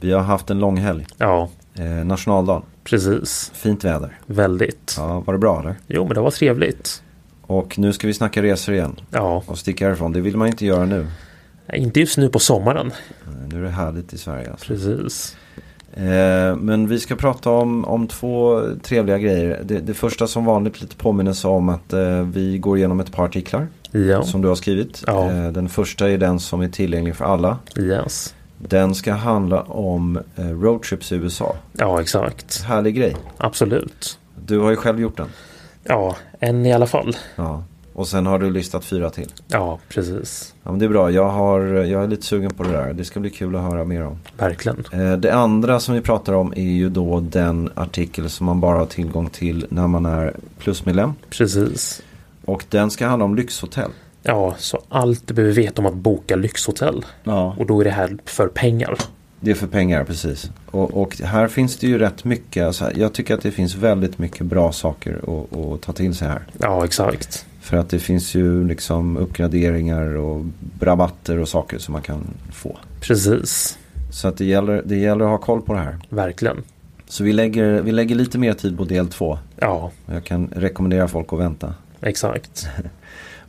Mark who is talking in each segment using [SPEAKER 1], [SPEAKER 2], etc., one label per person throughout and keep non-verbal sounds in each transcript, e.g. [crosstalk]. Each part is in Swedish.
[SPEAKER 1] Vi har haft en lång helg.
[SPEAKER 2] Ja,
[SPEAKER 1] Eh, nationaldagen.
[SPEAKER 2] precis.
[SPEAKER 1] Fint väder.
[SPEAKER 2] Väldigt.
[SPEAKER 1] Ja, var det bra eller?
[SPEAKER 2] Jo, men det var trevligt.
[SPEAKER 1] Och nu ska vi snacka resor igen.
[SPEAKER 2] Ja,
[SPEAKER 1] Och sticka härifrån. Det vill man inte göra nu.
[SPEAKER 2] inte just nu på sommaren.
[SPEAKER 1] Eh, Nu är det härligt i Sverige alltså.
[SPEAKER 2] Precis.
[SPEAKER 1] Eh, men vi ska prata om, om två trevliga grejer. Det, det första som vanligt lite påminnelse om att eh, vi går igenom ett par artiklar.
[SPEAKER 2] Ja,
[SPEAKER 1] Som du har skrivit.
[SPEAKER 2] Ja.
[SPEAKER 1] Eh, den första är den som är tillgänglig för alla.
[SPEAKER 2] yes.
[SPEAKER 1] Den ska handla om eh, roadtrips i USA.
[SPEAKER 2] Ja, exakt.
[SPEAKER 1] Härlig grej.
[SPEAKER 2] Absolut.
[SPEAKER 1] Du har ju själv gjort den.
[SPEAKER 2] Ja, en i alla fall.
[SPEAKER 1] Ja. Och sen har du listat fyra till.
[SPEAKER 2] Ja, precis.
[SPEAKER 1] Ja, men det är bra. Jag, har, jag är lite sugen på det där. Det ska bli kul att höra mer om.
[SPEAKER 2] Verkligen.
[SPEAKER 1] Eh, Det andra som vi pratar om är ju då den artikel som man bara har tillgång till när man är plusmedlem.
[SPEAKER 2] Precis.
[SPEAKER 1] Och den ska handla om lyxhotell.
[SPEAKER 2] Ja, så allt du behöver veta om att boka lyxhotell.
[SPEAKER 1] Ja.
[SPEAKER 2] Och då är det här för pengar.
[SPEAKER 1] Det är för pengar, precis. Och, och här finns det ju rätt mycket. Alltså, jag tycker att det finns väldigt mycket bra saker att, att ta till sig här.
[SPEAKER 2] Ja, exakt.
[SPEAKER 1] För att det finns ju liksom uppgraderingar och rabatter och saker som man kan få.
[SPEAKER 2] Precis.
[SPEAKER 1] Så att det, gäller, det gäller att ha koll på det här.
[SPEAKER 2] Verkligen.
[SPEAKER 1] Så vi lägger, vi lägger lite mer tid på del två.
[SPEAKER 2] Ja,
[SPEAKER 1] Jag kan rekommendera folk att vänta.
[SPEAKER 2] exakt.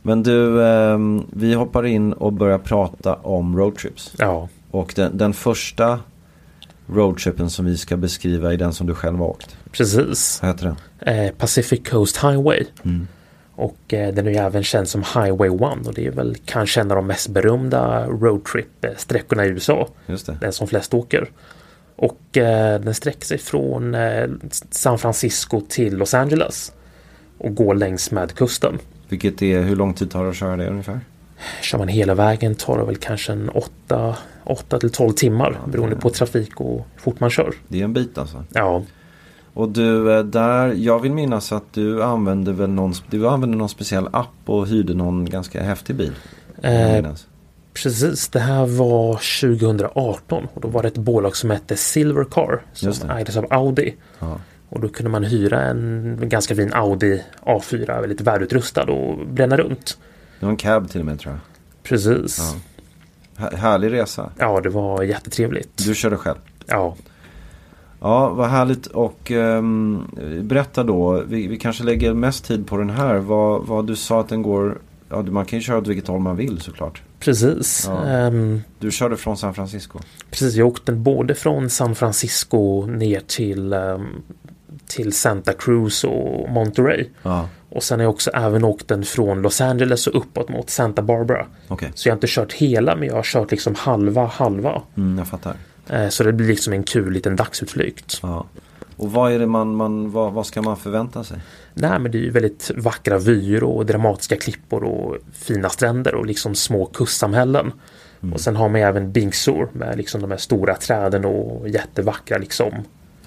[SPEAKER 1] Men du, ehm, vi hoppar in och börjar prata om roadtrips.
[SPEAKER 2] Ja,
[SPEAKER 1] Och den, den första roadtripen som vi ska beskriva är den som du själv har åkt.
[SPEAKER 2] precis.
[SPEAKER 1] Vad heter den?
[SPEAKER 2] eh, Pacific Coast Highway.
[SPEAKER 1] Mm.
[SPEAKER 2] Och eh, den är ju även känd som Highway 1 och det är väl kanske en av de mest berömda roadtrip-sträckorna i USA.
[SPEAKER 1] Just det.
[SPEAKER 2] Den som flest åker. Och eh, den sträcker sig från eh, San Francisco till Los Angeles. Och går längs med kusten.
[SPEAKER 1] Vilket är, hur lång tid tar det att köra det ungefär?
[SPEAKER 2] Kör man hela vägen tar det väl kanske en 8, 8 till 12 timmar beroende på trafik och hur fort man kör.
[SPEAKER 1] Det är en bit alltså.
[SPEAKER 2] Ja,
[SPEAKER 1] Och du, eh, där, jag vill minnas att du använde väl någon, du använde någon speciell app och hyrde någon ganska häftig bil. vill jag
[SPEAKER 2] Eh,
[SPEAKER 1] minnas.
[SPEAKER 2] Precis, det här var 2018 och då var det ett bolag som hette Silver Car
[SPEAKER 1] Just
[SPEAKER 2] som
[SPEAKER 1] det.
[SPEAKER 2] ägdes av Audi.
[SPEAKER 1] Ja.
[SPEAKER 2] Och då kunde man hyra en ganska fin Audi A4, väldigt välutrustad och bränna runt.
[SPEAKER 1] Det var en cab till och med tror jag.
[SPEAKER 2] Precis.
[SPEAKER 1] Ja.
[SPEAKER 2] Ja,
[SPEAKER 1] Här- härlig resa.
[SPEAKER 2] det var jättetrevligt.
[SPEAKER 1] Du körde själv.
[SPEAKER 2] Ja,
[SPEAKER 1] Ja, vad härligt. Och ehm, berätta då. Vi, vi kanske lägger mest tid på den här. Vad, vad du sa att den går. Ja, man kan ju köra åt vilket håll man vill såklart.
[SPEAKER 2] precis.
[SPEAKER 1] Ja.
[SPEAKER 2] Ehm,
[SPEAKER 1] Du körde från San Francisco.
[SPEAKER 2] precis, jag åkte både från San Francisco ner till, ehm, till Santa Cruz och Monterey.
[SPEAKER 1] Ja.
[SPEAKER 2] Och sen har jag också även åkt den från Los Angeles och uppåt mot Santa Barbara.
[SPEAKER 1] Okej.
[SPEAKER 2] Så jag har inte kört hela men jag har kört liksom halva halva.
[SPEAKER 1] Mm, jag fattar.
[SPEAKER 2] Eh, Så det blir liksom en kul liten dagsutflykt.
[SPEAKER 1] Ja. Och vad är det man, man vad, vad ska man förvänta sig?
[SPEAKER 2] Nej men det är ju väldigt vackra vyer och dramatiska klippor och fina stränder och liksom små kustsamhällen. Och sen har man ju även Bingsor med liksom de här stora träden och jättevackra liksom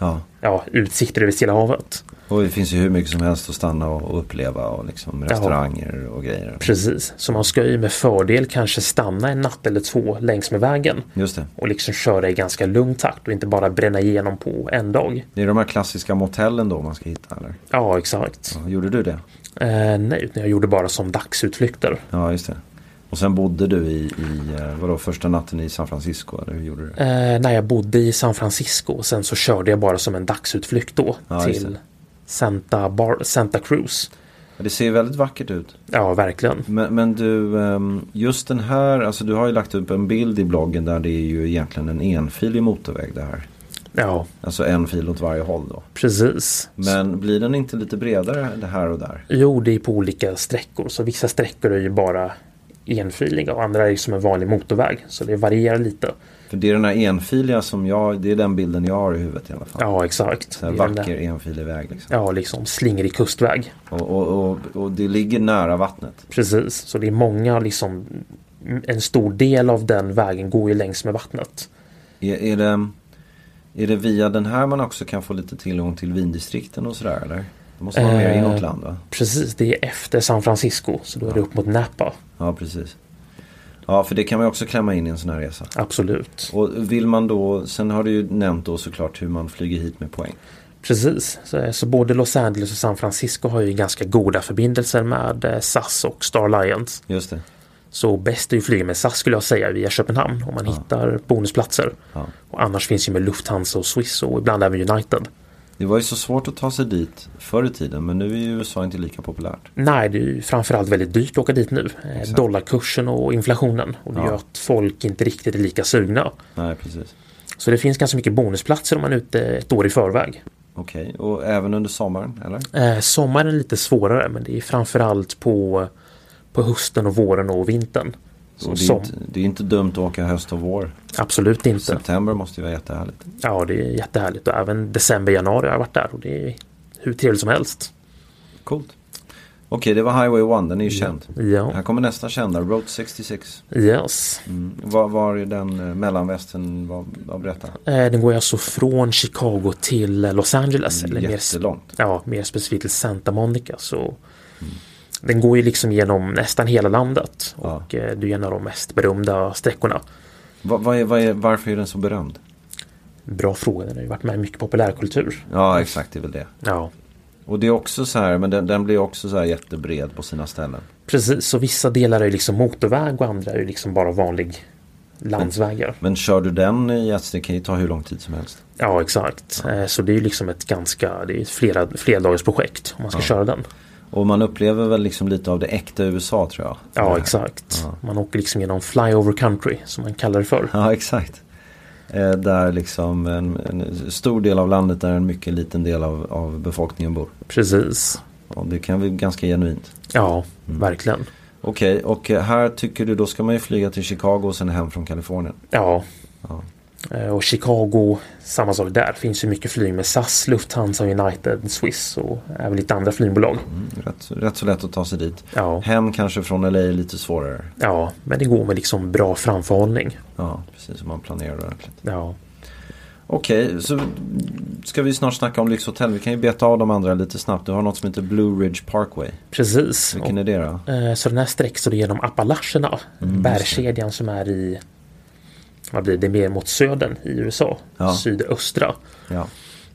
[SPEAKER 1] Ja.
[SPEAKER 2] ja, utsikter över Stilla havet.
[SPEAKER 1] Och det finns ju hur mycket som helst att stanna och och uppleva och liksom restauranger och grejer.
[SPEAKER 2] Precis, så man ska ju med fördel kanske stanna en natt eller två längs med vägen
[SPEAKER 1] Just det.
[SPEAKER 2] och liksom köra i ganska lugn takt och inte bara bränna igenom på en dag.
[SPEAKER 1] Det är de här klassiska motellen då man ska hitta eller?
[SPEAKER 2] Ja, exakt.
[SPEAKER 1] Ja, Gjorde du det?
[SPEAKER 2] Eh, nej, utan jag gjorde bara som dagsutflykter.
[SPEAKER 1] Ja, just det. Och sen bodde du i, i eh, vadå, första natten i San Francisco eller hur gjorde du det?
[SPEAKER 2] Eh, när jag bodde i San Francisco och sen så körde jag bara som en dagsutflykt då
[SPEAKER 1] Ja, just
[SPEAKER 2] till
[SPEAKER 1] det.
[SPEAKER 2] Santa, Bar- Santa Cruz.
[SPEAKER 1] Ja, Det ser ju väldigt vackert ut.
[SPEAKER 2] Ja, verkligen.
[SPEAKER 1] Men, men du, ehm, just den här, alltså du har ju lagt upp en bild i bloggen där det är ju egentligen en enfilig motorväg det här.
[SPEAKER 2] Ja,
[SPEAKER 1] Alltså en fil åt varje håll då.
[SPEAKER 2] precis.
[SPEAKER 1] Men blir den inte lite bredare det här och där?
[SPEAKER 2] Jo, det är på olika sträckor. Så vissa sträckor är ju bara enfiliga och andra är ju som en vanlig motorväg. Så det varierar lite.
[SPEAKER 1] För det är den här enfiliga som jag, det är den bilden jag har i huvudet i alla fall.
[SPEAKER 2] Ja, exakt.
[SPEAKER 1] Så här
[SPEAKER 2] Det är den
[SPEAKER 1] vacker
[SPEAKER 2] där-
[SPEAKER 1] enfilig väg liksom.
[SPEAKER 2] Ja, liksom slingrig kustväg.
[SPEAKER 1] Och, och, och, och det ligger nära vattnet.
[SPEAKER 2] Precis, så det är många liksom en stor del av den vägen går ju längs med vattnet.
[SPEAKER 1] Är, är, det, är det via den här man också kan få lite tillgång till vindistrikten och sådär eller? Det måste man mer
[SPEAKER 2] Eh.
[SPEAKER 1] inåt land va?
[SPEAKER 2] Precis, det är efter San Francisco så då är det upp mot Napa.
[SPEAKER 1] Ja precis. Ja för det kan man ju också klämma in i en sån här resa.
[SPEAKER 2] Absolut.
[SPEAKER 1] Och vill man då, sen har du ju nämnt då såklart hur man flyger hit med poäng.
[SPEAKER 2] Precis, så, så både Los Angeles och San Francisco har ju ganska goda förbindelser med eh, SAS och Star Alliance.
[SPEAKER 1] Just det.
[SPEAKER 2] Så bäst är ju att flyga med SAS skulle jag säga via Köpenhamn om man hittar bonusplatser.
[SPEAKER 1] Ja.
[SPEAKER 2] Och annars finns ju med Lufthansa och Swiss och ibland även United.
[SPEAKER 1] Det var ju så svårt att ta sig dit förr i tiden men nu är ju USA inte lika populärt.
[SPEAKER 2] Nej, det är ju framförallt väldigt dyrt att åka dit nu. Eh, Dollarkursen och inflationen. Och det
[SPEAKER 1] Ja.
[SPEAKER 2] gör att folk inte riktigt är lika sugna.
[SPEAKER 1] Nej precis.
[SPEAKER 2] Så det finns ganska mycket bonusplatser om man är ute ett år i förväg.
[SPEAKER 1] Okej, och även under sommaren eller?
[SPEAKER 2] Eh, sommaren är lite svårare men det är framförallt på, på hösten och våren och vintern. Så
[SPEAKER 1] Och det, är
[SPEAKER 2] som,
[SPEAKER 1] inte, det är inte dumt att åka höst och vår.
[SPEAKER 2] Absolut inte.
[SPEAKER 1] September måste ju vara jättehärligt.
[SPEAKER 2] Ja, det är jättehärligt och även december, januari har jag varit där och det är hur trevligt som helst.
[SPEAKER 1] Coolt. Okej, det var Highway 1, den är ju känd.
[SPEAKER 2] Ja.
[SPEAKER 1] Här kommer nästa kända, Road 66.
[SPEAKER 2] Yes.
[SPEAKER 1] Mm. Var, var är den eh, mellanvästen? Vad, vad berätta.
[SPEAKER 2] Eh, den går alltså från Chicago till eh, Los Angeles. Eller mer,
[SPEAKER 1] Mm, Jättelångt.
[SPEAKER 2] ja, mer specifikt till Santa Monica. Så Den går ju liksom genom nästan hela landet
[SPEAKER 1] Ja.
[SPEAKER 2] och eh, det är en av de mest berömda sträckorna.
[SPEAKER 1] Va, vad är, vad är, varför är den så berömd?
[SPEAKER 2] Bra fråga, den har ju varit med i mycket populärkultur.
[SPEAKER 1] Ja, exakt, det är väl det.
[SPEAKER 2] Ja,
[SPEAKER 1] Och det är också så här, men den, den blir också så här jättebred på sina ställen.
[SPEAKER 2] precis. Så vissa delar är ju liksom motorväg och andra är ju liksom bara vanlig landsvägar.
[SPEAKER 1] Men kör du den i ett det kan ju ta hur lång tid som helst.
[SPEAKER 2] Ja, exakt. Eh, Så det är ju liksom ett ganska, det är ett flera, flerdagars projekt om man ska köra den.
[SPEAKER 1] Och man upplever väl liksom lite av det äkta USA tror jag. Det
[SPEAKER 2] Ja,
[SPEAKER 1] här.
[SPEAKER 2] exakt. Man åker liksom genom flyover country som man kallar det för.
[SPEAKER 1] [laughs] Ja, exakt. Eh, där liksom en, en stor del av landet där en mycket liten del av, av befolkningen bor.
[SPEAKER 2] Precis. Mm.
[SPEAKER 1] Och det kan bli ganska genuint.
[SPEAKER 2] Ja, verkligen.
[SPEAKER 1] Okej, och eh, här tycker du då ska man ju flyga till Chicago och sen hem från Kalifornien.
[SPEAKER 2] Ja. Eh, Och Chicago, samma sak där. Finns ju mycket flyg med SAS, Lufthansa, United, Swiss och även lite andra flygbolag.
[SPEAKER 1] Rätt, rätt så lätt att ta sig dit.
[SPEAKER 2] Ja.
[SPEAKER 1] Hem kanske från LA är lite svårare.
[SPEAKER 2] Ja, men det går med liksom bra framförhållning.
[SPEAKER 1] Ja, precis som man planerar ordentligt.
[SPEAKER 2] Ja,
[SPEAKER 1] Okej, så ska vi snart snacka om lyxhotell. Vi kan ju beta av de andra lite snabbt. Du har något som heter Blue Ridge Parkway.
[SPEAKER 2] precis.
[SPEAKER 1] Vilken är det då?
[SPEAKER 2] Eh, Så den här sträcks då genom
[SPEAKER 1] Mm,
[SPEAKER 2] Appalacherna, bärkedjan som är i vad blir det, mer mot södern i USA,
[SPEAKER 1] Ja.
[SPEAKER 2] sydöstra.
[SPEAKER 1] Ja.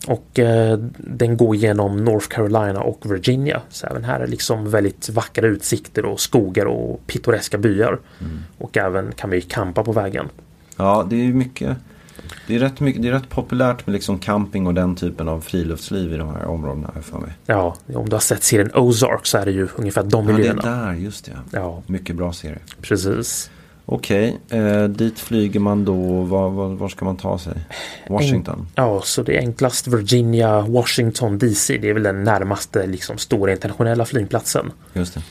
[SPEAKER 2] Och eh, den går genom North Carolina och Virginia. Så även här är liksom väldigt vackra utsikter och skogar och pittoreska byar.
[SPEAKER 1] Mm.
[SPEAKER 2] Och även kan vi ju campa på vägen.
[SPEAKER 1] ja, det är ju mycket. Det är, rätt mycket, det är rätt populärt med liksom camping och den typen av friluftsliv i de här områdena här för mig.
[SPEAKER 2] Ja, om du har sett serien Ozark så är det ju ungefär de
[SPEAKER 1] Ja, det är
[SPEAKER 2] miljöerna.
[SPEAKER 1] där, just det.
[SPEAKER 2] Ja.
[SPEAKER 1] Mycket bra serie.
[SPEAKER 2] Precis.
[SPEAKER 1] Okej, eh, dit flyger man då. Var, var, var ska man ta sig? Washington?
[SPEAKER 2] Mm. Ja, så det är enklast Virginia, Washington DC. Det är väl den närmaste liksom, stora internationella flygplatsen.
[SPEAKER 1] Just det.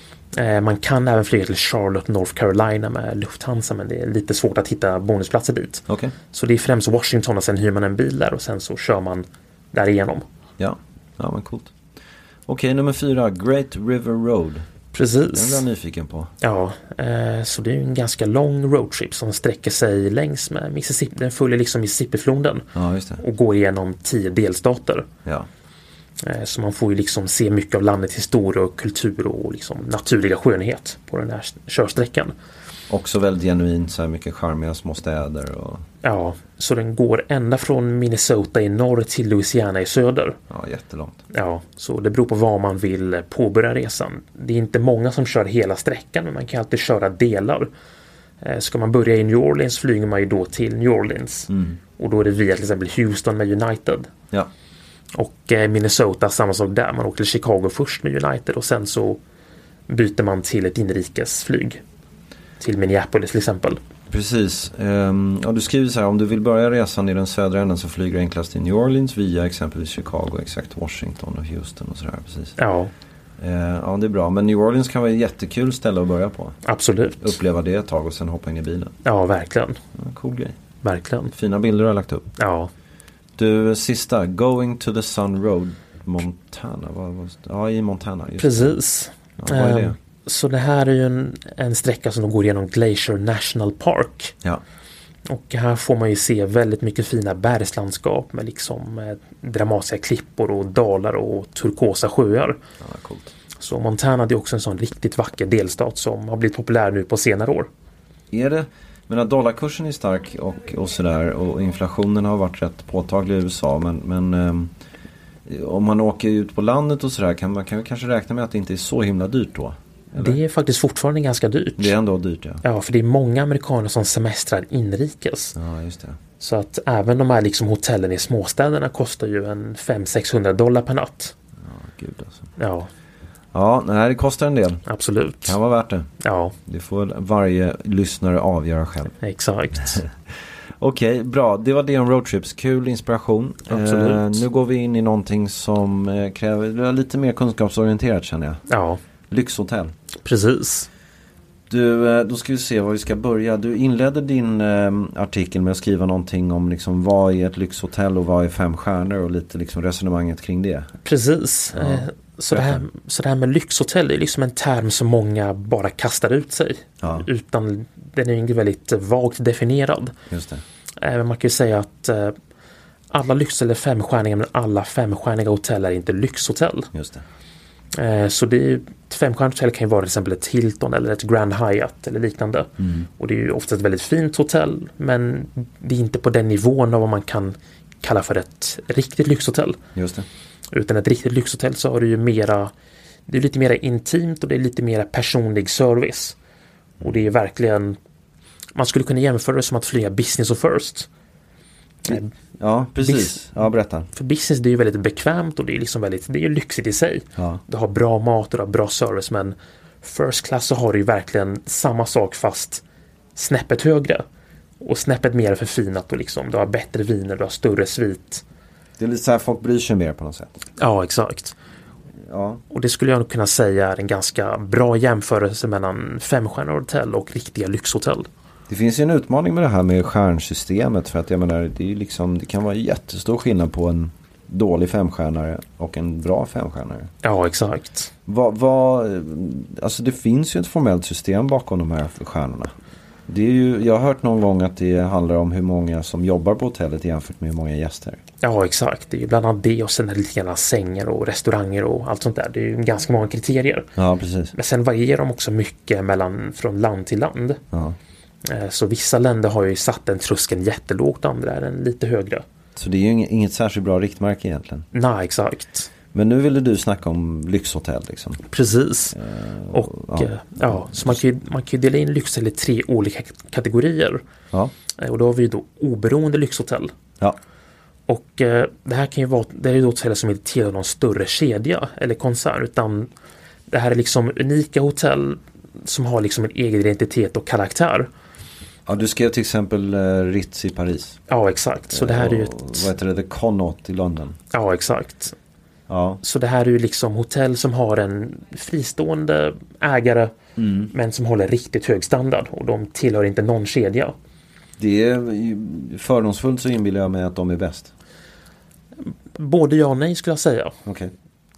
[SPEAKER 2] Eh, man kan även flyga till Charlotte, North Carolina med Lufthansa men det är lite svårt att hitta bonusplatser dit.
[SPEAKER 1] Okej,
[SPEAKER 2] Så det är främst Washington och sen hyr man en bil där och sen så kör man därigenom.
[SPEAKER 1] ja. Ja, men coolt. Okej, nummer fyra. Great River Road. Den blir jag
[SPEAKER 2] Precis.
[SPEAKER 1] nyfiken på.
[SPEAKER 2] Ja, eh, så det är ju en ganska lång roadtrip som sträcker sig längs med Mississippi. Den följer liksom Mississippifloden
[SPEAKER 1] Ja, just det.
[SPEAKER 2] och går igenom tio delstater.
[SPEAKER 1] Ja.
[SPEAKER 2] Eh, Så man får ju liksom se mycket av landets historia och kultur och liksom naturliga skönhet på den här körsträckan.
[SPEAKER 1] Också väldigt genuint så här mycket charmiga små städer och
[SPEAKER 2] Ja, så den går ända från Minnesota i norr till Louisiana i söder.
[SPEAKER 1] ja, jättelångt.
[SPEAKER 2] Ja, så det beror på var man vill påbörja resan. Det är inte många som kör hela sträckan, men man kan alltid köra delar. Eh, Ska man börja i New Orleans flyger man ju då till New Orleans. Och då är det via till exempel Houston med United.
[SPEAKER 1] Ja,
[SPEAKER 2] Och eh, Minnesota, samma sak där. Man åker till Chicago först med United och sen så byter man till ett inrikesflyg. Till Minneapolis till exempel.
[SPEAKER 1] precis. Ehm, ja, du skriver så här, om du vill börja resan i den södra änden så flyger du enklast till New Orleans via exempelvis Chicago, exakt Washington och Houston och sådär. Precis.
[SPEAKER 2] Ja,
[SPEAKER 1] Eh, ja, det är bra. Men New Orleans kan vara ett jättekul ställe att börja på.
[SPEAKER 2] absolut.
[SPEAKER 1] Uppleva det ett tag och sen hoppa in i bilen.
[SPEAKER 2] Ja, verkligen.
[SPEAKER 1] Ja, cool grej.
[SPEAKER 2] Verkligen.
[SPEAKER 1] Fina bilder du har lagt upp.
[SPEAKER 2] Ja,
[SPEAKER 1] Du, sista. Going to the Sun Road, Montana. Vad, vad, ja, i Montana. Just.
[SPEAKER 2] precis.
[SPEAKER 1] Ja, vad är det?
[SPEAKER 2] Ehm, Så det här är ju en, en sträcka som går genom Glacier National Park.
[SPEAKER 1] Ja,
[SPEAKER 2] Och här får man ju se väldigt mycket fina bergslandskap med liksom eh, dramatiska klippor och dalar och turkosa sjöar.
[SPEAKER 1] ja coolt.
[SPEAKER 2] Så Montana det är också en sån riktigt vacker delstat som har blivit populär nu på senare år.
[SPEAKER 1] Är det, men att dollarkursen är stark och, och sådär och inflationen har varit rätt påtaglig i USA men, men ehm, om man åker ut på landet och sådär kan man kan ju kanske räkna med att det inte är så himla dyrt då?
[SPEAKER 2] Det är faktiskt fortfarande ganska dyrt.
[SPEAKER 1] Det är ändå dyrt ja.
[SPEAKER 2] Ja, för det är många amerikaner som semestrar inrikes.
[SPEAKER 1] Ja just det.
[SPEAKER 2] Så att även de här liksom hotellen i småstäderna kostar ju en 500-600 dollar per natt.
[SPEAKER 1] Ja, gud alltså.
[SPEAKER 2] Ja,
[SPEAKER 1] Ja, nej det kostar en del.
[SPEAKER 2] absolut.
[SPEAKER 1] Kan vara värt det.
[SPEAKER 2] Ja,
[SPEAKER 1] Det får väl varje lyssnare avgöra själv.
[SPEAKER 2] exakt.
[SPEAKER 1] Okej, bra. Det var det om roadtrips. Kul inspiration. Eh,
[SPEAKER 2] Absolut.
[SPEAKER 1] nu går vi in i någonting som eh, kräver det är lite mer kunskapsorienterat känner jag.
[SPEAKER 2] Ja,
[SPEAKER 1] Lyxhotell.
[SPEAKER 2] precis.
[SPEAKER 1] Du, eh, då ska vi se var vi ska börja. Du inledde din eh, artikel med att skriva någonting om liksom vad är ett lyxhotell och vad är fem stjärnor och lite liksom resonemanget kring det.
[SPEAKER 2] Precis. Eh, Så det, här, så det här med lyxhotell är liksom en term som många bara kastar ut sig.
[SPEAKER 1] Ja.
[SPEAKER 2] Utan den är ju väldigt vagt definierad.
[SPEAKER 1] Just det.
[SPEAKER 2] Eh, Men man kan ju säga att eh, alla lyxhotell är femstjärniga men alla femstjärniga hotell är inte lyxhotell.
[SPEAKER 1] Just det.
[SPEAKER 2] Eh, Så det är ju, ett femstjärnigt hotell kan ju vara till exempel ett Hilton eller ett Grand Hyatt eller liknande. Och det är ju ofta ett väldigt fint hotell men det är inte på den nivån av vad man kan kalla för ett riktigt lyxhotell.
[SPEAKER 1] Just det.
[SPEAKER 2] Utan ett riktigt lyxhotell så har du ju mera Det är lite mer intimt och det är lite mer personlig service. Och det är verkligen Man skulle kunna jämföra det som att flyga business och first.
[SPEAKER 1] Ja, precis. Ja, berätta.
[SPEAKER 2] För business det är ju väldigt bekvämt och det är liksom väldigt Det är ju lyxigt i sig.
[SPEAKER 1] Ja.
[SPEAKER 2] Du har bra mat och du har bra service men First class så har du ju verkligen samma sak fast Snäppet högre. Och snäppet mer förfinat och liksom du har bättre viner, du har större svit.
[SPEAKER 1] Det är lite så här folk bryr sig mer på något sätt.
[SPEAKER 2] Ja exakt.
[SPEAKER 1] Ja,
[SPEAKER 2] Och det skulle jag nog kunna säga är en ganska bra jämförelse mellan femstjärniga hotell och riktiga lyxhotell.
[SPEAKER 1] Det finns ju en utmaning med det här med stjärnsystemet för att jag menar det, är ju liksom, det kan vara jättestor skillnad på en dålig femstjärnare och en bra femstjärnare.
[SPEAKER 2] Ja, exakt.
[SPEAKER 1] Vad, vad, alltså det finns ju ett formellt system bakom de här stjärnorna. Det är ju, jag har hört någon gång att det handlar om hur många som jobbar på hotellet jämfört med hur många gäster.
[SPEAKER 2] Ja, exakt. Det är ju bland annat det och sen är det lite grann sängar och restauranger och allt sånt där. Det är ju ganska många kriterier.
[SPEAKER 1] Ja, precis.
[SPEAKER 2] Men sen varierar de också mycket mellan, från land till land.
[SPEAKER 1] Ja.
[SPEAKER 2] Eh, Så vissa länder har ju satt den tröskeln jättelågt, andra är den lite högre.
[SPEAKER 1] Så det är ju inget, inget särskilt bra riktmärke egentligen.
[SPEAKER 2] Nej, exakt.
[SPEAKER 1] Men nu ville du snacka om lyxhotell liksom.
[SPEAKER 2] Precis. Eh, Och
[SPEAKER 1] ja.
[SPEAKER 2] ja, ja så man kan ju, man kan ju dela in lyxhotell i tre olika kategorier.
[SPEAKER 1] Ja.
[SPEAKER 2] Eh, Och då har vi ju då oberoende lyxhotell.
[SPEAKER 1] Ja.
[SPEAKER 2] Och eh, det här kan ju vara, det här är ju då hotell som inte tillhör någon större kedja eller koncern utan det här är liksom unika hotell som har liksom en egen identitet och karaktär.
[SPEAKER 1] ja, du skrev till exempel eh, Ritz i Paris.
[SPEAKER 2] Ja exakt, så det här är ju
[SPEAKER 1] Och,
[SPEAKER 2] ett,
[SPEAKER 1] Vad heter det? The Connaught i London.
[SPEAKER 2] ja exakt.
[SPEAKER 1] Ja,
[SPEAKER 2] Så det här är ju liksom hotell som har en fristående ägare
[SPEAKER 1] Mm.
[SPEAKER 2] men som håller riktigt hög standard och de tillhör inte någon kedja.
[SPEAKER 1] det är ju- fördomsfullt så inbillar jag mig att de är bäst.
[SPEAKER 2] Både ja och nej skulle jag säga.
[SPEAKER 1] Okej.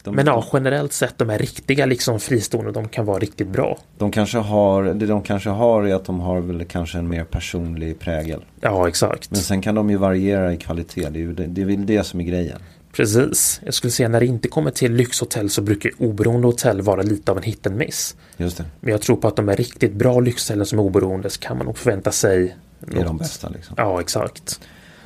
[SPEAKER 1] De,
[SPEAKER 2] Men ja, generellt sett de här riktiga liksom fristående, de kan vara riktigt bra.
[SPEAKER 1] de kanske har, det de kanske har är att de har väl kanske en mer personlig prägel.
[SPEAKER 2] Ja, exakt.
[SPEAKER 1] Men sen kan de ju variera i kvalitet. Det är ju det, det, är väl det som är grejen.
[SPEAKER 2] Precis. Jag skulle säga när det inte kommer till lyxhotell så brukar oberoende hotell vara lite av en hit and miss.
[SPEAKER 1] Just det.
[SPEAKER 2] Men jag tror på att de är riktigt bra lyxhotellen som är oberoende så kan man nog förvänta sig
[SPEAKER 1] Det är de bästa liksom.
[SPEAKER 2] Ja, exakt.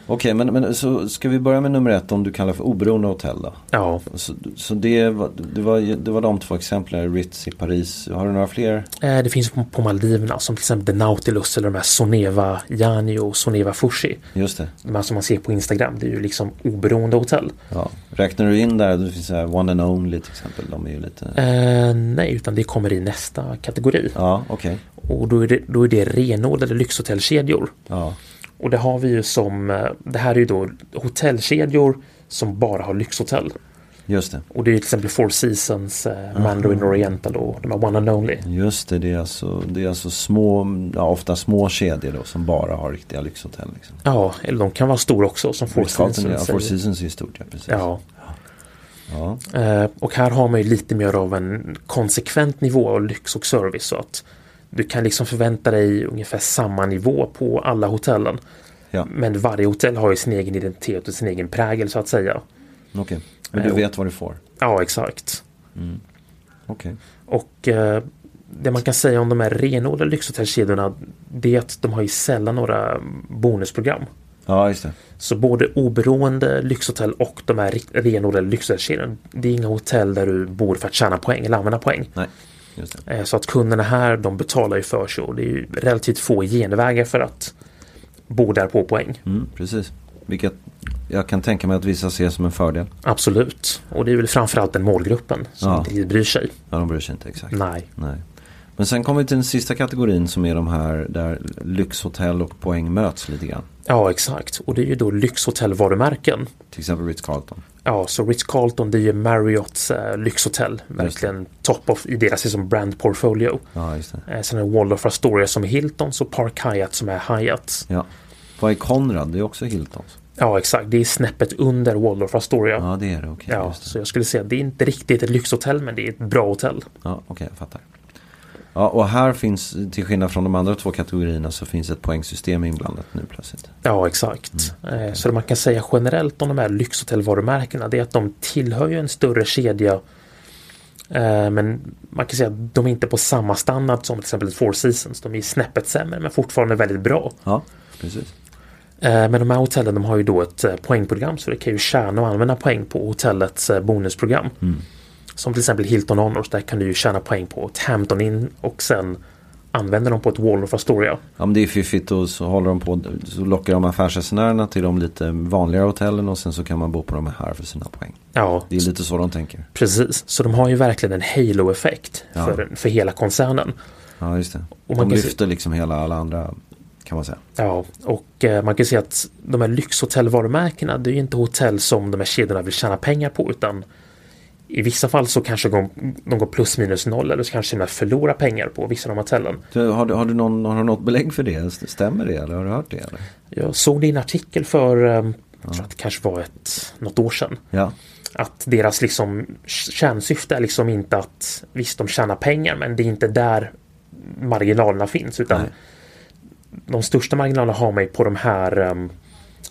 [SPEAKER 1] Okej, men, men så ska vi börja med nummer ett, de du kallar för oberoende hotell då?
[SPEAKER 2] Ja,
[SPEAKER 1] Så, så det, var, det, var, ju- det var de två exemplen, Ritz i Paris. Har du några fler?
[SPEAKER 2] Eh, Det finns på- på Maldiverna som till exempel The Nautilus eller de här Soneva Yani och Soneva Fushi.
[SPEAKER 1] Just det.
[SPEAKER 2] De här som man ser på Instagram, det är ju liksom oberoende hotell.
[SPEAKER 1] Ja. Räknar du in där, det finns så här One and Only till exempel. De är ju lite...
[SPEAKER 2] Eh, nej, utan det kommer i nästa kategori.
[SPEAKER 1] Ja, okej.
[SPEAKER 2] Och då är det, då är det renodlade lyxhotellkedjor.
[SPEAKER 1] Ja.
[SPEAKER 2] Och det har vi ju som, eh, det här är ju då hotellkedjor som bara har lyxhotell.
[SPEAKER 1] Just det.
[SPEAKER 2] Och det är ju till exempel Four Seasons, eh, Mandarin Oriental och de här One and Only.
[SPEAKER 1] Just det, det är alltså, det är alltså små, ja, ofta små kedjor då som bara har riktiga lyxhotell. Liksom.
[SPEAKER 2] Ja, eller de kan vara stora också som Four
[SPEAKER 1] Ritz-Carlton,
[SPEAKER 2] Seasons.
[SPEAKER 1] ja, Four
[SPEAKER 2] säger.
[SPEAKER 1] Seasons är ju stort, ja precis.
[SPEAKER 2] Ja.
[SPEAKER 1] Ja.
[SPEAKER 2] Eh, Och här har man ju lite mer av en konsekvent nivå av lyx och service så att du kan liksom förvänta dig ungefär samma nivå på alla hotellen.
[SPEAKER 1] Ja.
[SPEAKER 2] Men varje hotell har ju sin egen identitet och sin egen prägel så att säga.
[SPEAKER 1] Okej, men du
[SPEAKER 2] Eh,
[SPEAKER 1] vet vad du får.
[SPEAKER 2] Ja, exakt.
[SPEAKER 1] Okej.
[SPEAKER 2] Och eh, det man kan säga om de här renodlade lyxhotellkedjorna det är att de har ju sällan några bonusprogram.
[SPEAKER 1] Ja, just det.
[SPEAKER 2] Så både oberoende lyxhotell och de här rik- renodlade lyxhotellkedjorna det är inga hotell där du bor för att tjäna poäng eller använda poäng.
[SPEAKER 1] Nej, just det.
[SPEAKER 2] Eh, Så att kunderna här de betalar ju för sig och det är ju relativt få genvägar för att bo där på poäng.
[SPEAKER 1] Mm, precis. Vilket jag kan tänka mig att vissa ser som en fördel.
[SPEAKER 2] Absolut. Och det är väl framförallt den målgruppen som
[SPEAKER 1] Ja.
[SPEAKER 2] inte riktigt bryr sig.
[SPEAKER 1] Ja, de bryr sig inte exakt.
[SPEAKER 2] Nej.
[SPEAKER 1] Nej. Men sen kommer vi till den sista kategorin som är de här där lyxhotell och poäng möts lite grann.
[SPEAKER 2] Ja, exakt. Och det är ju då lyxhotellvarumärken.
[SPEAKER 1] Till exempel Ritz-Carlton.
[SPEAKER 2] Ja, så Ritz-Carlton det är ju Marriotts eh, lyxhotell. Verkligen top of i deras liksom brand portfolio.
[SPEAKER 1] Ja, just det.
[SPEAKER 2] Eh, sen är det Waldorf Astoria som är Hiltons och Park Hyatt som är Hyatts.
[SPEAKER 1] Ja. Vad är Conrad? Det är också Hiltons.
[SPEAKER 2] Ja, exakt. Det är snäppet under Waldorf Astoria.
[SPEAKER 1] Ja, det är det. Okej,
[SPEAKER 2] ja,
[SPEAKER 1] just det.
[SPEAKER 2] så jag skulle säga att det är inte riktigt ett lyxhotell men det är ett bra hotell.
[SPEAKER 1] Ja, okej, jag fattar. Ja, och här finns, till skillnad från de andra två kategorierna, så finns ett poängsystem inblandat nu plötsligt.
[SPEAKER 2] Ja, exakt.
[SPEAKER 1] Mm,
[SPEAKER 2] Eh, Så det man kan säga generellt om de här lyxhotellvarumärkena det är att de tillhör ju en större kedja. Eh, Men man kan säga att de är inte på samma standard som till exempel ett Four Seasons. De är snäppet sämre men fortfarande väldigt bra.
[SPEAKER 1] Ja, precis.
[SPEAKER 2] Eh, Men de här hotellen de har ju då ett eh, poängprogram så det kan ju tjäna och använda poäng på hotellets eh, bonusprogram. Som till exempel Hilton Honors, där kan du ju tjäna poäng på ett Hampton Inn och sen använda dem på ett Waldorf Astoria.
[SPEAKER 1] Ja, men det är fiffigt och så håller de på, så lockar de affärsresenärerna till de lite vanligare hotellen och sen så kan man bo på de här för sina poäng.
[SPEAKER 2] Ja,
[SPEAKER 1] Det är lite så de tänker.
[SPEAKER 2] Precis, så de har ju verkligen en halo-effekt
[SPEAKER 1] Ja.
[SPEAKER 2] för, för hela koncernen.
[SPEAKER 1] Ja, just det.
[SPEAKER 2] man
[SPEAKER 1] de
[SPEAKER 2] kan se-
[SPEAKER 1] lyfter liksom hela alla andra, kan man säga.
[SPEAKER 2] Ja, och eh, man kan ju se att de här lyxhotellvarumärkena, det är ju inte hotell som de här kedjorna vill tjäna pengar på utan i vissa fall så kanske de, de går plus minus noll eller så kanske de förlorar pengar på vissa av de hotellen.
[SPEAKER 1] Du, har, du, har, du någon, har du något belägg för det? Stämmer det eller har du hört det? Eller?
[SPEAKER 2] Jag såg din artikel för, eh, jag tror att det kanske var ett, något år sedan,
[SPEAKER 1] Ja.
[SPEAKER 2] att deras liksom kärnsyfte är liksom inte att visst de tjänar pengar men det är inte där marginalerna finns utan
[SPEAKER 1] Nej.
[SPEAKER 2] de största marginalerna har man ju på de här em,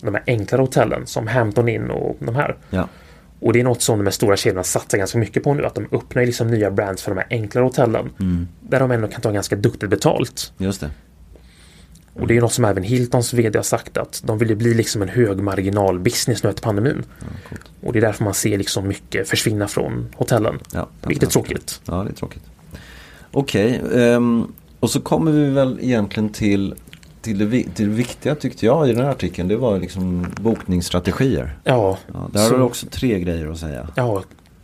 [SPEAKER 2] de här enklare hotellen som Hampton Inn och de här.
[SPEAKER 1] ja.
[SPEAKER 2] Och det är något som de här stora kedjorna satsar ganska mycket på nu att de öppnar ju liksom nya brands för de här enklare hotellen
[SPEAKER 1] Mm.
[SPEAKER 2] där de ändå kan ta ganska duktigt betalt.
[SPEAKER 1] Just det.
[SPEAKER 2] Och det är något som även Hiltons vd har sagt att de vill ju bli liksom en högmarginal business nu efter pandemin. och det är därför man ser liksom mycket försvinna från hotellen.
[SPEAKER 1] Ja,
[SPEAKER 2] vilket är tråkigt.
[SPEAKER 1] Ja, det är tråkigt. Okej, ehm, och så kommer vi väl egentligen till, till, det, vi- till det viktiga tyckte jag i den här artikeln. Det var liksom bokningsstrategier.
[SPEAKER 2] Ja,
[SPEAKER 1] Ja, där har
[SPEAKER 2] så,
[SPEAKER 1] du också tre grejer att säga.
[SPEAKER 2] ja,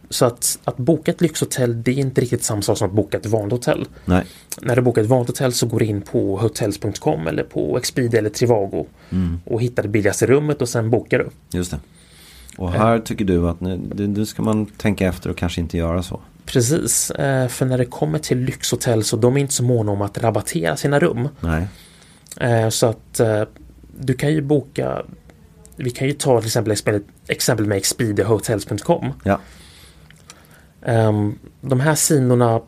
[SPEAKER 2] så att, att boka ett lyxhotell det är inte riktigt samma sak som att boka ett vanligt hotell.
[SPEAKER 1] Nej,
[SPEAKER 2] När du bokar ett vanligt hotell så går du in på hotels.com eller på Expedia eller Trivago
[SPEAKER 1] Mm.
[SPEAKER 2] och hittar det billigaste rummet och sen bokar du.
[SPEAKER 1] just det. Och här tycker du att nu, det- nu ska man tänka efter och kanske inte göra så.
[SPEAKER 2] Precis, eh, för när det kommer till lyxhotell så de är inte så måna om att rabattera sina rum.
[SPEAKER 1] Nej,
[SPEAKER 2] Eh, Så att eh, du kan ju boka vi kan ju ta till exempel exempel- exempel med expediahotels.com.
[SPEAKER 1] ja,
[SPEAKER 2] Ehm, de här sidorna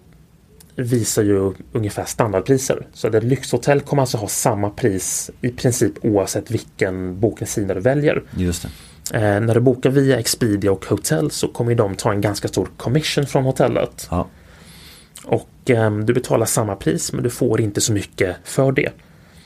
[SPEAKER 2] visar ju ungefär standardpriser. Så ett lyxhotell kommer alltså ha samma pris i princip oavsett vilken bokningssida du väljer.
[SPEAKER 1] Just det.
[SPEAKER 2] Eh, när du bokar via Expedia och Hotell så kommer ju de ta en ganska stor commission från hotellet.
[SPEAKER 1] Ja.
[SPEAKER 2] Och ehm, du betalar samma pris men du får inte så mycket för det.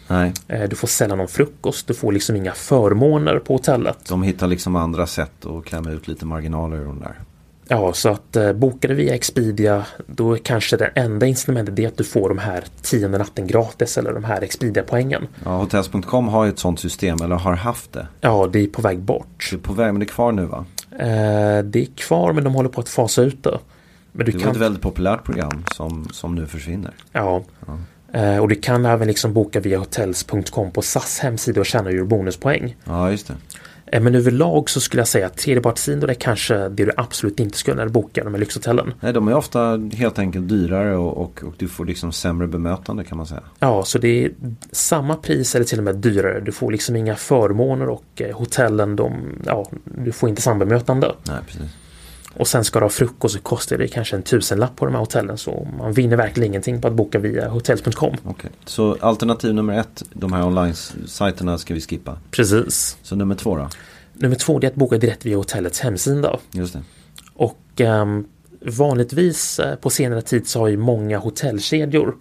[SPEAKER 1] Nej,
[SPEAKER 2] Eh, du får sällan någon frukost, du får liksom inga förmåner på hotellet.
[SPEAKER 1] de hittar liksom andra sätt att klämma ut lite marginaler ur de där.
[SPEAKER 2] Ja, så att eh, bokar du via Expedia då är kanske det enda incitamentet det att du får de här tionde natten gratis eller de här Expedia-poängen.
[SPEAKER 1] Ja, Hotels.com har ju ett sånt system, eller har haft det.
[SPEAKER 2] Ja, det är på väg bort.
[SPEAKER 1] Det är på väg, men det är kvar nu va?
[SPEAKER 2] Eh, det är kvar men de håller på att fasa ut det. Men du
[SPEAKER 1] Det var
[SPEAKER 2] kan...
[SPEAKER 1] ett väldigt populärt program som, som nu försvinner.
[SPEAKER 2] Ja. Eh, och du kan även liksom boka via hotels.com på SAS hemsida och tjäna ju bonuspoäng.
[SPEAKER 1] Ja, just det.
[SPEAKER 2] Eh, men överlag så skulle jag säga att tredjepartssidor är kanske det du absolut inte skulle när du bokar de här lyxhotellen.
[SPEAKER 1] Nej, de är ofta helt enkelt dyrare och, och, och du får liksom sämre bemötande kan man säga.
[SPEAKER 2] Ja, så det är samma pris eller till och med dyrare. Du får liksom inga förmåner och eh, hotellen, de, ja, du får inte samma bemötande.
[SPEAKER 1] Nej, precis.
[SPEAKER 2] Och sen ska du ha frukost så kostar det kanske en tusenlapp på de här hotellen så man vinner verkligen ingenting på att boka via hotels.com.
[SPEAKER 1] Okej. Så alternativ nummer ett, de här online-sajterna ska vi skippa.
[SPEAKER 2] Precis.
[SPEAKER 1] Så nummer två då?
[SPEAKER 2] Nummer två det är att boka direkt via hotellets hemsida.
[SPEAKER 1] Just det.
[SPEAKER 2] Och ehm, vanligtvis eh, på senare tid så har ju många hotellkedjor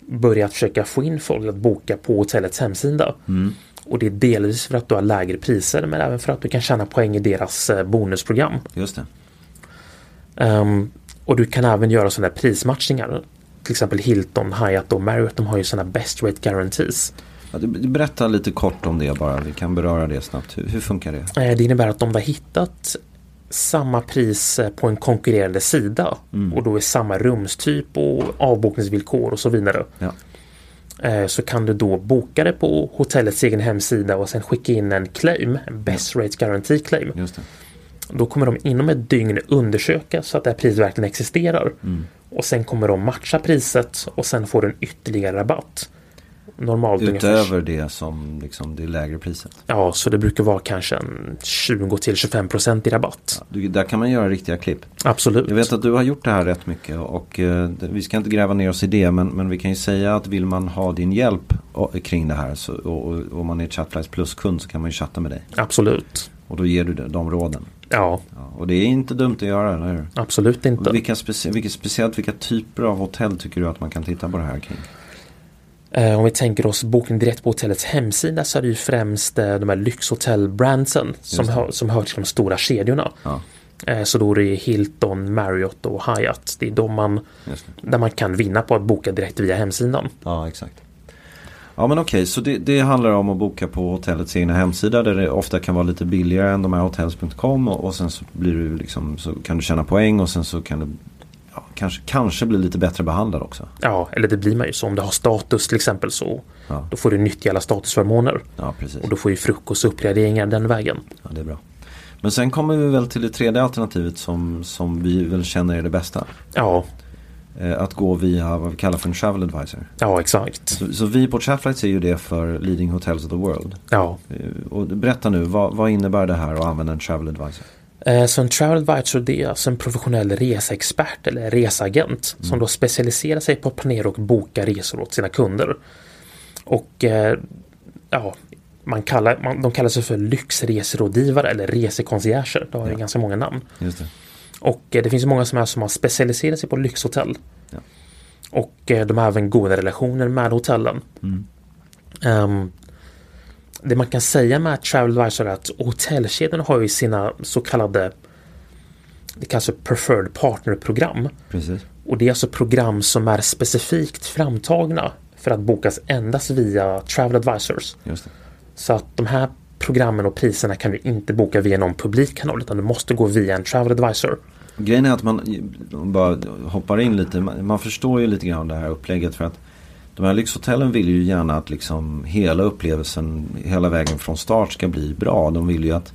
[SPEAKER 2] börjat försöka få in folk att boka på hotellets hemsida. Och det är delvis för att du har lägre priser men även för att du kan tjäna poäng i deras eh, bonusprogram.
[SPEAKER 1] Just det.
[SPEAKER 2] Ehm, och du kan även göra sådana här prismatchningar. Till exempel Hilton, Hyatt och Marriott de har ju sådana best rate guarantees.
[SPEAKER 1] Ja, du- du berätta lite kort om det bara. Vi kan beröra det snabbt. Hur, hur funkar det?
[SPEAKER 2] Eh, Det innebär att de har hittat samma pris eh, på en konkurrerande sida
[SPEAKER 1] Mm.
[SPEAKER 2] och då är samma rumstyp och avbokningsvillkor och så vidare.
[SPEAKER 1] Ja.
[SPEAKER 2] Eh, Så kan du då boka det på hotellets egen hemsida och sen skicka in en claim, en best rates guarantee claim.
[SPEAKER 1] Just det.
[SPEAKER 2] Då kommer de inom ett dygn undersöka så att det här priset verkligen existerar.
[SPEAKER 1] Mm.
[SPEAKER 2] Och sen kommer de matcha priset och sen får du en ytterligare rabatt. Normalt ungefär.
[SPEAKER 1] Utöver det som liksom det lägre priset.
[SPEAKER 2] Ja, så det brukar vara kanske en 20 till 25 procent i rabatt.
[SPEAKER 1] Du, där kan man göra riktiga klipp.
[SPEAKER 2] Absolut.
[SPEAKER 1] Jag vet att du har gjort det här rätt mycket och eh, det- vi ska inte gräva ner oss i det men, men vi kan ju säga att vill man ha din hjälp o- kring det här så, och, och om man är Chatflies plus-kund så kan man ju chatta med dig.
[SPEAKER 2] Absolut.
[SPEAKER 1] Och då ger du de, de råden.
[SPEAKER 2] Ja,
[SPEAKER 1] Ja, och det är inte dumt att göra, eller hur?
[SPEAKER 2] absolut inte.
[SPEAKER 1] Vilka, speci- vilka, speciellt vilka typer av hotell tycker du att man kan titta på det här kring?
[SPEAKER 2] Eh, om vi tänker oss bokning direkt på hotellets hemsida så är det ju främst eh, de här lyxhotellbrandsen som, hör, som hör till de stora kedjorna.
[SPEAKER 1] Ja,
[SPEAKER 2] Eh, så då är det Hilton, Marriott och Hyatt. Det är de man,
[SPEAKER 1] just det.
[SPEAKER 2] där man kan vinna på att boka direkt via hemsidan.
[SPEAKER 1] Ja, exakt. Ja, men okej, så det, det handlar om att boka på hotellets egna hemsida där det ofta kan vara lite billigare än de här hotels.com och, och sen så, blir du liksom, så kan du tjäna poäng och sen så kan du ja, kanske, kanske bli lite bättre behandlad också.
[SPEAKER 2] Ja, eller det blir man ju så om du har status till exempel så
[SPEAKER 1] Ja.
[SPEAKER 2] då får du nyttja alla statusförmåner.
[SPEAKER 1] Ja, precis.
[SPEAKER 2] Och då får ju frukost och uppgraderingar den vägen.
[SPEAKER 1] Ja, det är bra. Men sen kommer vi väl till det tredje alternativet som, som vi väl känner är det bästa.
[SPEAKER 2] Ja,
[SPEAKER 1] Eh, att gå via vad vi kallar för en travel advisor.
[SPEAKER 2] ja exakt.
[SPEAKER 1] Så, så vi på Chatflights är ju det för Leading Hotels of the World.
[SPEAKER 2] Ja.
[SPEAKER 1] Eh, Och berätta nu, vad, vad innebär det här att använda en travel advisor?
[SPEAKER 2] Eh, Så en travel advisor det är alltså en professionell reseexpert eller reseagent som då specialiserar sig på att planera och boka resor åt sina kunder. Och eh, ja, man kallar, man, de kallar sig för lyxreserådgivare eller resekoncierger. Det har ju ganska många namn.
[SPEAKER 1] Just det.
[SPEAKER 2] Och eh, det finns ju många som, är, som har specialiserat sig på lyxhotell.
[SPEAKER 1] Ja.
[SPEAKER 2] Och eh, de har även goda relationer med hotellen. Ehm, det man kan säga med Travelvisor är att hotellkedjorna har ju sina så kallade det kallas för preferred partner-program.
[SPEAKER 1] Precis.
[SPEAKER 2] Och det är alltså program som är specifikt framtagna för att bokas endast via Travel Advisors.
[SPEAKER 1] Just det.
[SPEAKER 2] Så att de här programmen och priserna kan du inte boka via någon publikkanal utan du måste gå via en Travel Advisor.
[SPEAKER 1] Grejen är att man om bara hoppar in lite. Man, man förstår ju lite grann det här upplägget för att de här lyxhotellen vill ju gärna att liksom hela upplevelsen hela vägen från start ska bli bra. De vill ju att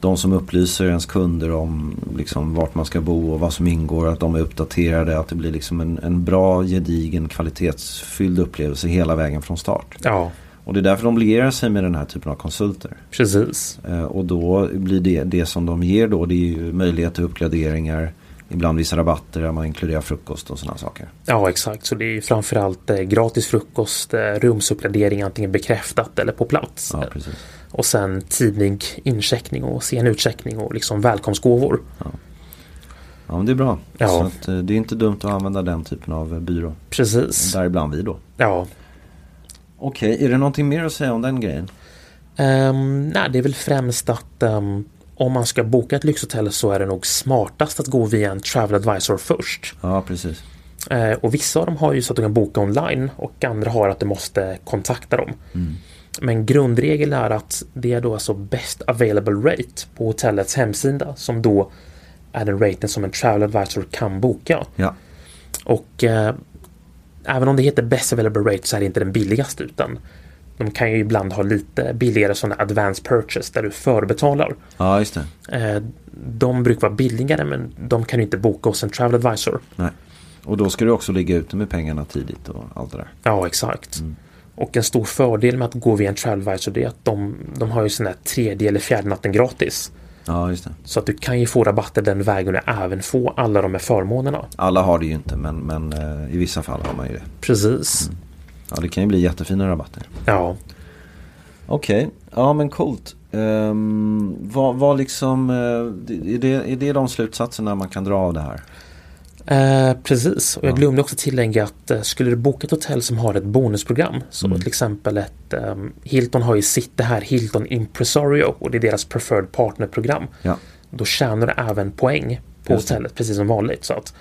[SPEAKER 1] de som upplyser ens kunder om liksom vart man ska bo och vad som ingår, att de är uppdaterade, att det blir liksom en, en bra, gedigen, kvalitetsfylld upplevelse hela vägen från start.
[SPEAKER 2] Ja,
[SPEAKER 1] Och det är därför de lierar sig med den här typen av konsulter.
[SPEAKER 2] precis.
[SPEAKER 1] Eh, Och då blir det, det som de ger då det är ju möjlighet till uppgraderingar. ibland vissa rabatter där man inkluderar frukost och sådana saker.
[SPEAKER 2] Ja, exakt. Så det är ju framförallt eh, gratis frukost, eh, rumsuppgradering antingen bekräftat eller på plats.
[SPEAKER 1] Ja,
[SPEAKER 2] Eh,
[SPEAKER 1] precis.
[SPEAKER 2] och sen tidig incheckning och sen utcheckning och liksom välkomstgåvor.
[SPEAKER 1] Ja, men det är bra.
[SPEAKER 2] Ja.
[SPEAKER 1] Så att, eh, det är inte dumt att använda den typen av eh, byrå.
[SPEAKER 2] Precis.
[SPEAKER 1] Däribland vi då.
[SPEAKER 2] Ja.
[SPEAKER 1] Okej, är det någonting mer att säga om den grejen?
[SPEAKER 2] Ehm, nej, det är väl främst att ehm, om man ska boka ett lyxhotell så är det nog smartast att gå via en travel advisor först.
[SPEAKER 1] Ja, precis.
[SPEAKER 2] Eh, och vissa av dem har ju så att du kan boka online och andra har att du måste kontakta dem. Men grundregeln är att det är då alltså best available rate på hotellets hemsida som då är den raten som en travel advisor kan boka.
[SPEAKER 1] Ja,
[SPEAKER 2] Och eh, även om det heter best available rate så är det inte den billigaste utan de kan ju ibland ha lite billigare sådana advance purchase där du förbetalar.
[SPEAKER 1] ja just det.
[SPEAKER 2] Eh, de brukar vara billigare men de kan ju inte boka hos en travel advisor.
[SPEAKER 1] Nej. Och då ska du också ligga ute med pengarna tidigt och allt det där.
[SPEAKER 2] Ja, exakt. Och en stor fördel med att gå via en Travelvisor det är att de, de har ju sån här tredje eller fjärde natten gratis.
[SPEAKER 1] Ja, just det.
[SPEAKER 2] Så att du kan ju få rabatter den vägen och även få alla de här förmånerna.
[SPEAKER 1] Alla har det ju inte, men, men eh, i vissa fall har man ju det.
[SPEAKER 2] Precis.
[SPEAKER 1] Ja, det kan ju bli jättefina rabatter.
[SPEAKER 2] Ja.
[SPEAKER 1] Okej, ja men coolt. Ehm, vad, vad liksom, eh, är, det, är det de slutsatserna man kan dra av det här?
[SPEAKER 2] Eh, precis, och jag glömde också tillägga att eh, skulle du boka ett hotell som har ett bonusprogram, så
[SPEAKER 1] Mm.
[SPEAKER 2] till exempel ett eh, Hilton har ju sitt det här Hilton Impresario och det är deras preferred partnerprogram.
[SPEAKER 1] Ja.
[SPEAKER 2] Då tjänar du även poäng på
[SPEAKER 1] Just det.
[SPEAKER 2] hotellet precis som vanligt. Så att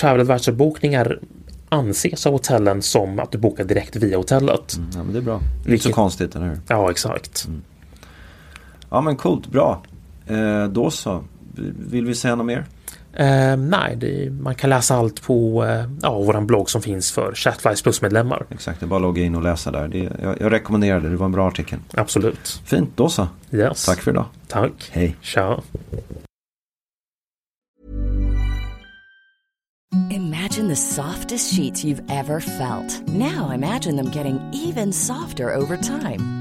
[SPEAKER 2] Travel Advisor-bokningar anses av hotellen som att du bokar direkt via hotellet.
[SPEAKER 1] Ja men det är bra. Inte så
[SPEAKER 2] Vilket-
[SPEAKER 1] konstigt, eller hur?
[SPEAKER 2] Ja, exakt.
[SPEAKER 1] Mm. Ja men coolt, bra. Eh, då så. Vill vi säga något mer?
[SPEAKER 2] Eh, nej, det, man kan läsa allt på eh, ja, vår blogg som finns för Chatwise Plus-medlemmar.
[SPEAKER 1] Exakt, det är bara att logga in och läsa där. Det, jag, jag rekommenderar det, det var en bra artikel.
[SPEAKER 2] Absolut.
[SPEAKER 1] Fint, då så.
[SPEAKER 2] Yes.
[SPEAKER 1] Tack för idag.
[SPEAKER 2] Tack.
[SPEAKER 1] Hej.
[SPEAKER 2] Ciao.
[SPEAKER 3] Imagine the softest sheets you've ever felt. Now imagine them getting even softer over time.